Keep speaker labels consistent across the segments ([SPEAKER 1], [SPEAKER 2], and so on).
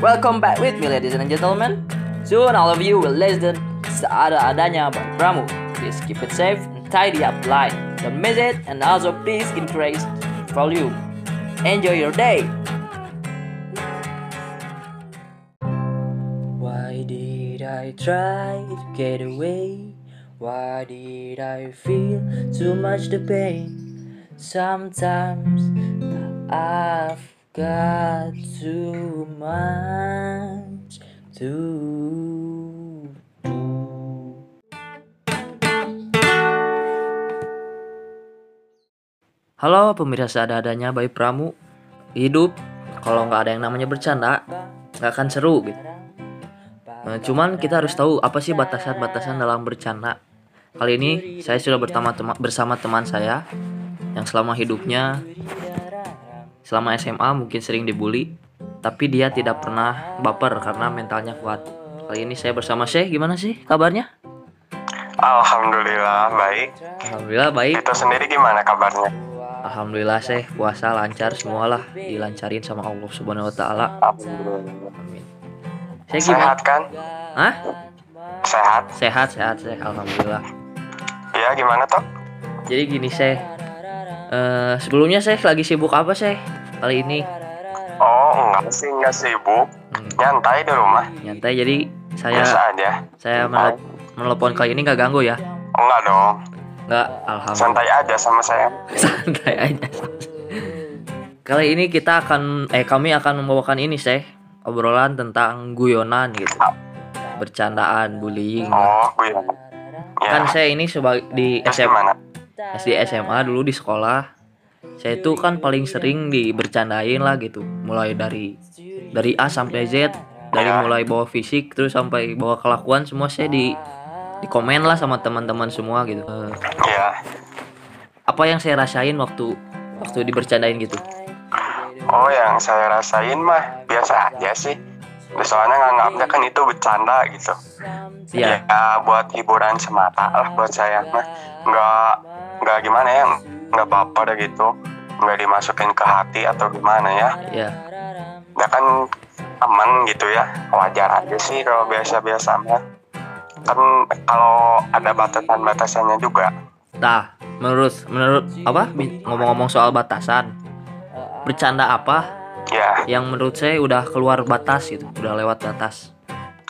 [SPEAKER 1] Welcome back with me, ladies and gentlemen. Soon, all of you will listen seada-adanya by Pramu. Please keep it safe and tidy up line. Don't miss it, and also please increase volume. Enjoy your day. Why did I try to get away? Why did I feel too much the pain? Sometimes I've got too much to do. Halo pemirsa ada-adanya Bayu Pramu Hidup kalau nggak ada yang namanya bercanda nggak akan seru gitu Eh, Cuman kita harus tahu apa sih batasan-batasan dalam bercanda Kali ini saya sudah bertama tema- bersama teman saya Yang selama hidupnya Selama SMA mungkin sering dibully Tapi dia tidak pernah baper karena mentalnya kuat Kali ini saya bersama Syekh, gimana sih kabarnya?
[SPEAKER 2] Alhamdulillah baik.
[SPEAKER 1] Alhamdulillah baik
[SPEAKER 2] Itu sendiri gimana kabarnya?
[SPEAKER 1] Alhamdulillah Syekh, puasa lancar semualah Dilancarin sama Allah subhanahu wa ta'ala
[SPEAKER 2] Alhamdulillah.
[SPEAKER 1] Amin Syekh gimana?
[SPEAKER 2] Sehat kan?
[SPEAKER 1] Hah?
[SPEAKER 2] Sehat.
[SPEAKER 1] Sehat, sehat, Syekh, Alhamdulillah
[SPEAKER 2] Ya gimana toh?
[SPEAKER 1] Jadi gini Syekh Eh, Sebelumnya Syekh lagi sibuk apa Syekh? Kali ini
[SPEAKER 2] Oh enggak sih enggak sibuk.
[SPEAKER 1] Hmm,
[SPEAKER 2] Nyantai di rumah.
[SPEAKER 1] Nyantai jadi saya
[SPEAKER 2] Biasa aja.
[SPEAKER 1] saya menel- menelepon kali ini nggak ganggu ya?
[SPEAKER 2] Enggak dong.
[SPEAKER 1] Nggak, alhamdulillah
[SPEAKER 2] Santai aja sama saya.
[SPEAKER 1] santai aja kali ini kita akan eh kami akan membawakan ini seh obrolan tentang guyonan gitu bercandaan bullying
[SPEAKER 2] Oh gue.
[SPEAKER 1] kan
[SPEAKER 2] Ya.
[SPEAKER 1] saya ini sebagai di
[SPEAKER 2] Terus
[SPEAKER 1] SMA
[SPEAKER 2] gimana?
[SPEAKER 1] SD SMA dulu di sekolah saya itu kan paling sering dibercandain lah gitu mulai dari dari A sampai Z dari
[SPEAKER 2] Ya.
[SPEAKER 1] mulai bawa fisik terus sampai bawa kelakuan semua saya di di komen lah sama teman-teman semua gitu Eh,
[SPEAKER 2] Ya.
[SPEAKER 1] apa yang saya rasain waktu waktu dibercandain gitu
[SPEAKER 2] Oh yang saya rasain mah biasa aja sih. Soalnya nganggapnya kan itu bercanda gitu.
[SPEAKER 1] ya
[SPEAKER 2] Ya, buat hiburan semata lah buat saya mah nggak nggak gimana ya nggak baper gitu nggak dimasukin ke hati atau gimana ya
[SPEAKER 1] ya
[SPEAKER 2] ya kan aman gitu ya wajar aja sih kalau biasa-biasa mah kan kalau ada batasan-batasannya juga
[SPEAKER 1] Nah, menurut menurut apa bi- ngomong-ngomong soal batasan, bercanda apa
[SPEAKER 2] ya
[SPEAKER 1] yang menurut saya udah keluar batas gitu, udah lewat batas.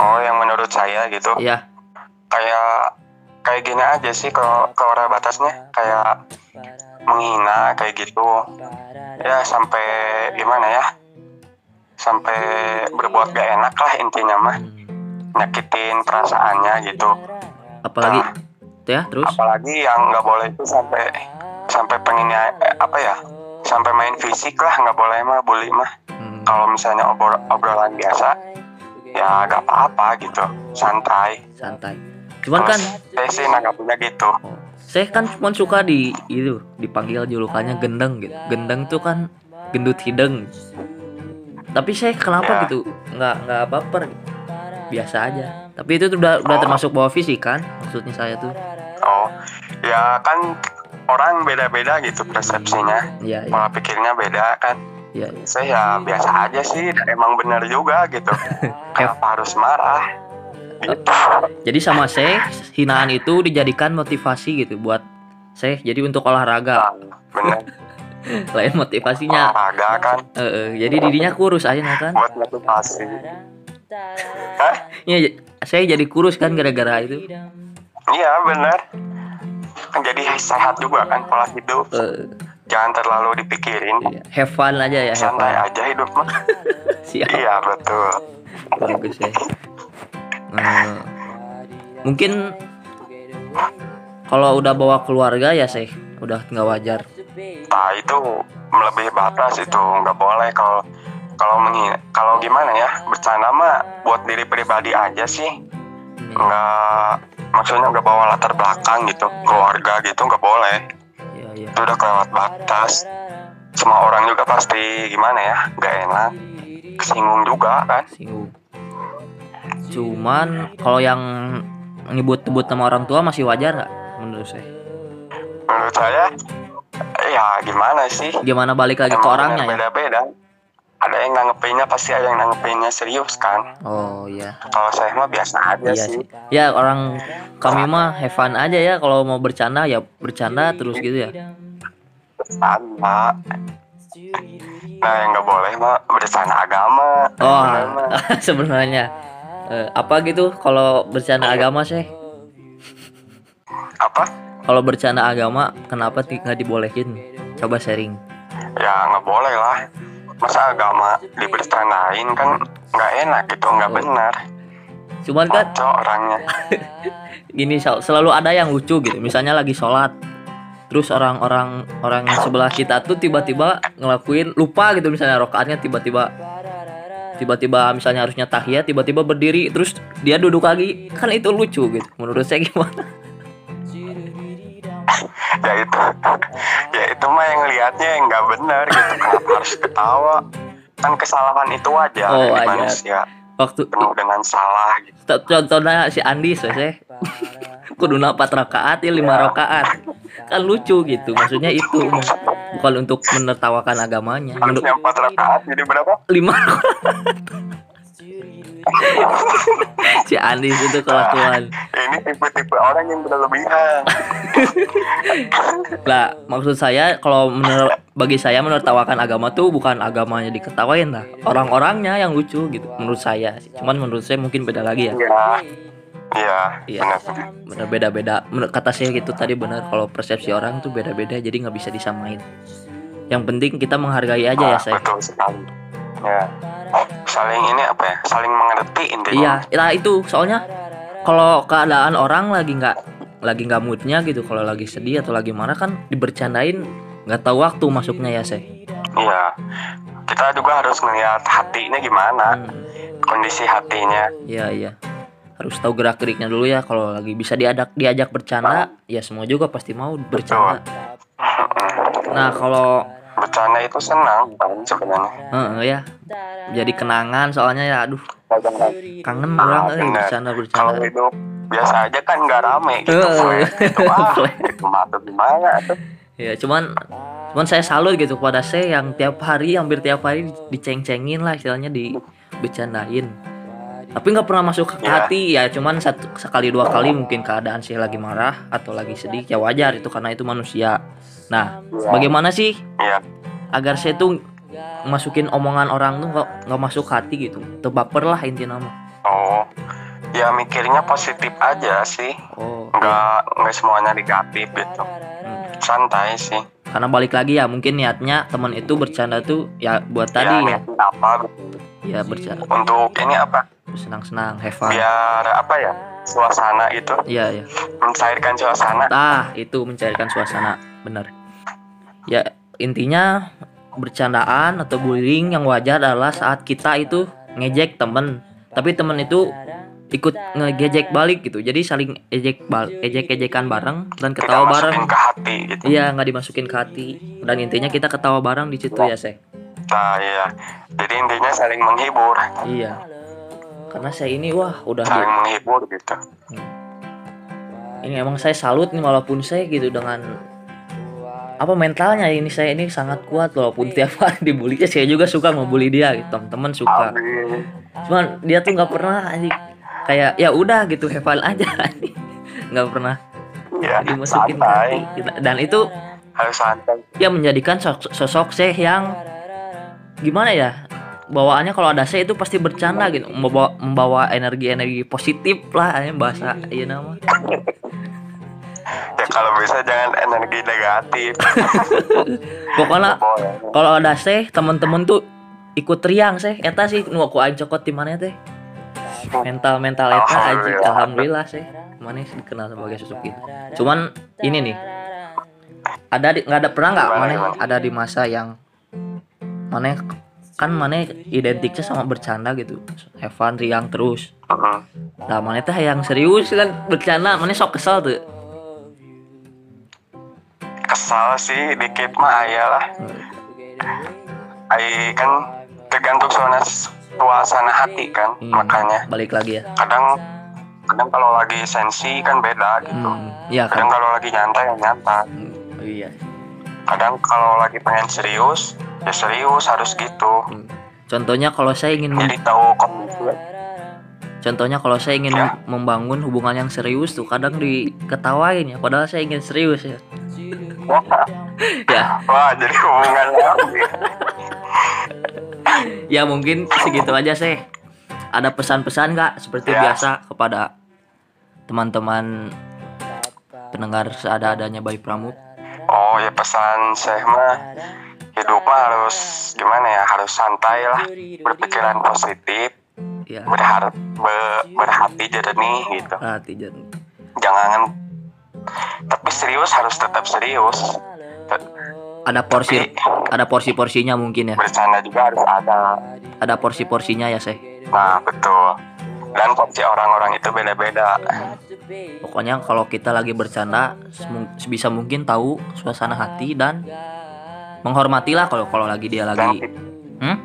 [SPEAKER 2] oh yang menurut saya gitu
[SPEAKER 1] Ya,
[SPEAKER 2] kayak kayak gini aja sih kalau kalau ada batasnya kayak menghina kayak gitu ya sampai gimana ya sampai berbuat gak enak lah intinya mah
[SPEAKER 1] hmm,
[SPEAKER 2] nyakitin perasaannya gitu
[SPEAKER 1] apalagi ya terus
[SPEAKER 2] apalagi yang nggak boleh itu sampai sampai pengennya eh, apa ya sampai main fisik lah nggak boleh mah bully mah
[SPEAKER 1] hmm,
[SPEAKER 2] kalau misalnya obrol obrolan biasa ya gak apa-apa gitu santai
[SPEAKER 1] santai. Cuman kan
[SPEAKER 2] saya sih nanggapinnya gitu
[SPEAKER 1] oh, saya kan cuma suka di itu dipanggil julukannya gendeng gitu. Gendeng tuh kan gendut hideng. Tapi saya kenapa
[SPEAKER 2] Ya.
[SPEAKER 1] gitu nggak nggak baper gitu. biasa aja. Tapi itu tuh udah udah termasuk bawa fisik kan maksudnya saya tuh.
[SPEAKER 2] Oh, ya kan orang beda-beda gitu persepsinya.
[SPEAKER 1] Iya, iya,
[SPEAKER 2] Pola pikirnya beda kan.
[SPEAKER 1] iya. iya.
[SPEAKER 2] Saya ya biasa aja sih, emang bener juga gitu. Kenapa harus marah? Gitu.
[SPEAKER 1] Jadi sama saya hinaan itu dijadikan motivasi gitu buat saya jadi untuk olahraga
[SPEAKER 2] Bener,
[SPEAKER 1] lain motivasinya
[SPEAKER 2] olahraga kan
[SPEAKER 1] Eh, eh, jadi dirinya kurus aja nah kan
[SPEAKER 2] buat motivasi.
[SPEAKER 1] ya j- saya jadi kurus kan gara-gara itu
[SPEAKER 2] Iya bener. Kan Jadi sehat juga kan pola hidup.
[SPEAKER 1] Eh,
[SPEAKER 2] Jangan terlalu dipikirin.
[SPEAKER 1] iya. have fun aja ya have
[SPEAKER 2] Santai
[SPEAKER 1] fun
[SPEAKER 2] aja hidup mah.
[SPEAKER 1] siap
[SPEAKER 2] Iya betul.
[SPEAKER 1] bagus ya Eh, mungkin kalau udah bawa keluarga ya saya udah nggak wajar
[SPEAKER 2] Nah itu melebihi batas itu nggak boleh kalau kalau menghina kalau gimana ya bercanda mah buat diri pribadi aja sih nggak maksudnya nggak bawa latar belakang gitu keluarga gitu nggak boleh
[SPEAKER 1] ya ya
[SPEAKER 2] itu udah kelewat batas semua orang juga pasti gimana ya nggak enak kesinggung juga kan
[SPEAKER 1] singgung cuman kalau yang nyebut-nyebut nama orang tua masih wajar nggak menurut saya
[SPEAKER 2] menurut saya ya gimana sih
[SPEAKER 1] gimana balik lagi ke
[SPEAKER 2] Emang
[SPEAKER 1] orangnya ya
[SPEAKER 2] beda-beda ada yang nanggepinnya pasti ada yang nanggepinnya serius kan
[SPEAKER 1] Oh iya.
[SPEAKER 2] kalau saya mah biasa aja
[SPEAKER 1] Iya
[SPEAKER 2] sih
[SPEAKER 1] sih. Ya orang kami mah have fun aja ya kalau mau bercanda ya bercanda terus gitu ya.
[SPEAKER 2] bercanda nah yang nggak boleh mah bercanda agama
[SPEAKER 1] Oh
[SPEAKER 2] Bener mah.
[SPEAKER 1] sebenarnya eh, apa gitu kalau bercanda agama sih?
[SPEAKER 2] apa
[SPEAKER 1] Kalau bercanda agama kenapa ti- nggak dibolehin? Coba sharing.
[SPEAKER 2] ya nggak boleh lah masa agama dibercandain kan nggak enak gitu nggak
[SPEAKER 1] Oh.
[SPEAKER 2] benar
[SPEAKER 1] Cuman kan
[SPEAKER 2] ngaco orangnya
[SPEAKER 1] gini Sal, selalu ada yang lucu gitu misalnya lagi sholat terus orang-orang orang sebelah kita tuh tiba-tiba ngelakuin lupa gitu misalnya rokaatnya tiba-tiba tiba-tiba misalnya harusnya tahiyat tiba-tiba berdiri terus dia duduk lagi kan itu lucu gitu menurut saya gimana
[SPEAKER 2] ya itu ya itu mah yang lihatnya yang nggak benar gitu kenapa harus ketawa kan kesalahan itu wajar
[SPEAKER 1] Oh,
[SPEAKER 2] di
[SPEAKER 1] wajar.
[SPEAKER 2] manusia
[SPEAKER 1] waktu
[SPEAKER 2] penuh dengan salah gitu
[SPEAKER 1] co- contohnya si Andi saya kudu empat rakaat ya lima rakaat kan lucu gitu maksudnya itu bukan untuk menertawakan agamanya Menurut-
[SPEAKER 2] harusnya empat rakaat jadi berapa
[SPEAKER 1] lima si Andi itu kelakuan
[SPEAKER 2] ini tipe-tipe orang yang berlebihan
[SPEAKER 1] lah maksud saya kalau menur- bagi saya menertawakan agama tuh bukan agamanya diketawain lah orang-orangnya yang lucu gitu menurut saya sih. cuman menurut saya mungkin beda lagi ya
[SPEAKER 2] ya ya
[SPEAKER 1] Iya.
[SPEAKER 2] benar
[SPEAKER 1] bener beda-beda Menur- kata saya gitu tadi benar kalau persepsi orang tuh beda-beda jadi nggak bisa disamain yang penting kita menghargai aja ya saya
[SPEAKER 2] betul sekali ya saling ini apa ya saling mengerti intinya
[SPEAKER 1] iya lah itu soalnya kalau keadaan orang lagi nggak lagi nggak moodnya gitu kalau lagi sedih atau lagi marah kan dibercandain nggak tahu waktu masuknya ya saya
[SPEAKER 2] Iya. kita juga harus melihat hatinya gimana
[SPEAKER 1] Hmm.
[SPEAKER 2] kondisi hatinya
[SPEAKER 1] Iya iya harus tahu gerak geriknya dulu ya kalau lagi bisa diajak diajak bercanda ya semua juga pasti mau bercanda. Nah kalau
[SPEAKER 2] bercanda itu senang kan sebenarnya
[SPEAKER 1] eh, eh, ya jadi kenangan soalnya ya aduh kangen
[SPEAKER 2] Ah,
[SPEAKER 1] orang eh
[SPEAKER 2] bener.
[SPEAKER 1] bercanda
[SPEAKER 2] kalau
[SPEAKER 1] bercanda.
[SPEAKER 2] hidup biasa aja kan nggak rame gitu
[SPEAKER 1] Eh.
[SPEAKER 2] Fle. gitu ah itu mah tuh gimana tuh
[SPEAKER 1] Ya cuman cuman saya salut gitu pada saya yang tiap hari hampir tiap hari diceng-cengin lah istilahnya dibecandain. Tapi nggak pernah masuk ke
[SPEAKER 2] Iya.
[SPEAKER 1] hati ya cuman satu sekali dua kali mungkin keadaan saya lagi marah atau lagi sedih ya wajar itu karena itu manusia. Nah bagaimana sih
[SPEAKER 2] Iya.
[SPEAKER 1] agar saya tuh masukin omongan orang tuh nggak nggak masuk hati gitu terbaper lah inti nama
[SPEAKER 2] oh ya mikirnya positif aja sih
[SPEAKER 1] oh
[SPEAKER 2] nggak nggak semuanya negatif gitu
[SPEAKER 1] Hmm.
[SPEAKER 2] santai sih
[SPEAKER 1] karena balik lagi ya mungkin niatnya teman itu bercanda tuh ya buat
[SPEAKER 2] ya,
[SPEAKER 1] tadi ya
[SPEAKER 2] niatin apa gitu
[SPEAKER 1] ya bercanda
[SPEAKER 2] untuk ini apa
[SPEAKER 1] senang-senang have fun
[SPEAKER 2] biar apa ya suasana itu
[SPEAKER 1] ya ya
[SPEAKER 2] mencairkan suasana
[SPEAKER 1] ah itu mencairkan suasana bener ya intinya bercandaan atau bullying yang wajar adalah saat kita itu ngejek temen tapi temen itu ikut ngejek balik gitu jadi saling ejek ejek ejekan bareng dan
[SPEAKER 2] tidak
[SPEAKER 1] ketawa bareng
[SPEAKER 2] masukin ke hati gitu
[SPEAKER 1] Iya nggak dimasukin ke hati dan intinya kita ketawa bareng di situ ya Seh.
[SPEAKER 2] nah iya jadi intinya saling menghibur
[SPEAKER 1] Iya. Karena saya ini wah udah di-
[SPEAKER 2] saling menghibur gitu
[SPEAKER 1] ini emang saya salut nih walaupun saya gitu dengan apa mentalnya ini saya ini sangat kuat walaupun tiap hari dibully ya saya juga suka ngebully dia gitu teman-teman suka
[SPEAKER 2] Amin.
[SPEAKER 1] cuman dia tuh nggak pernah anjing. kayak ya udah gitu heval aja anjing. nggak pernah
[SPEAKER 2] ya
[SPEAKER 1] dimasukin ke hati
[SPEAKER 2] santai
[SPEAKER 1] gitu. dan itu
[SPEAKER 2] harus santai
[SPEAKER 1] ya menjadikan sosok, sosok Syekh yang gimana ya bawaannya kalau ada saya itu pasti bercanda gitu membawa membawa energi-energi positif lah eh, bahasa iya nama
[SPEAKER 2] ya kalau bisa jangan energi negatif
[SPEAKER 1] pokoknya
[SPEAKER 2] boleh
[SPEAKER 1] kalau ada saya teman-teman tuh ikut riang saya eta sih nu aku aing cokot di mana teh mental mental eta aji
[SPEAKER 2] Alhamdulillah.
[SPEAKER 1] alhamdulillah saya mana dikenal sebagai sosok gitu cuman ini nih ada di- nggak ada pernah nggak
[SPEAKER 2] Gimana,
[SPEAKER 1] mana
[SPEAKER 2] gimana?
[SPEAKER 1] ada di masa yang mana kan mana identiknya sama bercanda gitu have fun riang terus
[SPEAKER 2] Mm-mm.
[SPEAKER 1] Nah, mana teh yang serius kan bercanda, mana sok kesel tuh.
[SPEAKER 2] kesal sih dikit mah aya lah Ay, kan tergantung suasana suasana hati kan
[SPEAKER 1] Hmm,
[SPEAKER 2] makanya
[SPEAKER 1] Balik lagi ya.
[SPEAKER 2] kadang kadang kalau lagi sensi kan beda gitu
[SPEAKER 1] Hmm, iya
[SPEAKER 2] kadang
[SPEAKER 1] kan.
[SPEAKER 2] kalau lagi nyantai ya nyantai
[SPEAKER 1] Hmm, oh iya.
[SPEAKER 2] kadang kalau lagi pengen serius ya serius harus gitu
[SPEAKER 1] Hmm. Contohnya kalau saya ingin
[SPEAKER 2] jadi tahu komitmen
[SPEAKER 1] contohnya kalau saya ingin
[SPEAKER 2] Ya.
[SPEAKER 1] membangun hubungan yang serius tuh kadang diketawain ya padahal saya ingin serius ya.
[SPEAKER 2] wah,
[SPEAKER 1] Ya,
[SPEAKER 2] wah jadi hubungan
[SPEAKER 1] ya mungkin segitu aja sih. Ada pesan-pesan nggak seperti
[SPEAKER 2] Ya.
[SPEAKER 1] biasa kepada teman-teman pendengar seada-adanya Bayi Pramu?
[SPEAKER 2] oh ya pesan saya mah hidup mah harus gimana ya harus santai lah berpikiran positif
[SPEAKER 1] Ya,
[SPEAKER 2] berharap be- berhati jernih gitu
[SPEAKER 1] berarti Jan.
[SPEAKER 2] jangan tapi serius harus tetap serius Te-
[SPEAKER 1] ada porsi
[SPEAKER 2] Tapi-
[SPEAKER 1] ada porsi-porsinya mungkin ya.
[SPEAKER 2] bercanda juga harus ada
[SPEAKER 1] Ada porsi-porsinya ya, Seh.
[SPEAKER 2] nah betul dan porsi orang-orang itu beda-beda
[SPEAKER 1] Pokoknya kalau kita lagi bercanda semu- sebisa mungkin tahu suasana hati dan menghormatilah kalau kalau lagi dia
[SPEAKER 2] dan
[SPEAKER 1] lagi
[SPEAKER 2] tipe,
[SPEAKER 1] hmm?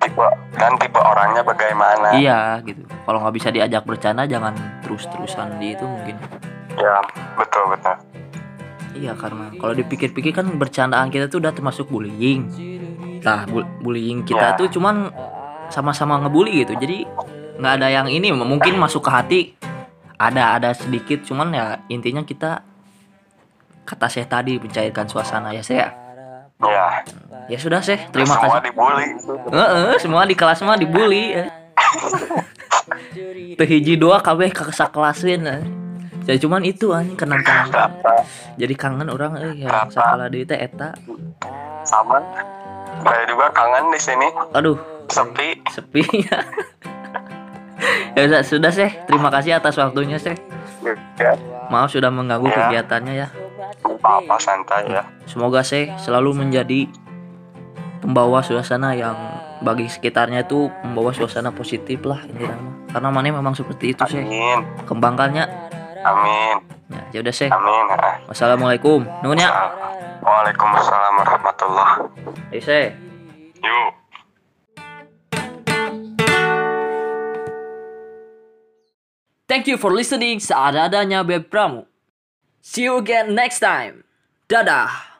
[SPEAKER 2] tipe- dan tipe orangnya bagaimana
[SPEAKER 1] iya gitu. Kalau nggak bisa diajak bercanda jangan terus-terusan di itu mungkin.
[SPEAKER 2] ya betul betul
[SPEAKER 1] Iya karena kalau dipikir-pikir kan bercandaan kita tuh udah termasuk bullying. Nah, bu- bullying kita
[SPEAKER 2] Ya.
[SPEAKER 1] tuh cuman sama-sama ngebully gitu. Jadi nggak ada yang ini mungkin masuk ke hati ada ada sedikit cuman ya intinya kita kata saya tadi mencairkan suasana ya saya.
[SPEAKER 2] ya
[SPEAKER 1] Ya sudah sih, terima
[SPEAKER 2] semua
[SPEAKER 1] kasih.
[SPEAKER 2] dibully
[SPEAKER 1] Heeh, semua di kelas mah dibully. eh. Teu hiji dua kabeh kaksa kelasin. eh. Ya cuman itu anjing kenang-kenang.
[SPEAKER 2] Data
[SPEAKER 1] Jadi kangen orang eh ya sekolah di teh eta.
[SPEAKER 2] sama saya juga kangen di sini
[SPEAKER 1] Aduh,
[SPEAKER 2] sepi
[SPEAKER 1] sepi ya. sudah, sudah sih. Terima kasih atas waktunya sih.
[SPEAKER 2] ya
[SPEAKER 1] Maaf sudah mengganggu
[SPEAKER 2] Ya.
[SPEAKER 1] kegiatannya ya.
[SPEAKER 2] apa apa santai ya
[SPEAKER 1] Semoga sih selalu menjadi pembawa suasana yang bagi sekitarnya itu membawa suasana positif lah intinya mah. Karena mana memang seperti itu sih.
[SPEAKER 2] amin
[SPEAKER 1] Kembangkannya.
[SPEAKER 2] amin
[SPEAKER 1] Ya, ya udah sih.
[SPEAKER 2] amin ah.
[SPEAKER 1] Wassalamualaikum. Nuhun ya.
[SPEAKER 2] Waalaikumsalam warahmatullahi
[SPEAKER 1] Ayo, sih.
[SPEAKER 2] yuk
[SPEAKER 1] Thank you for listening seada-adanya Beb Pramu. See you again next time. Dadah.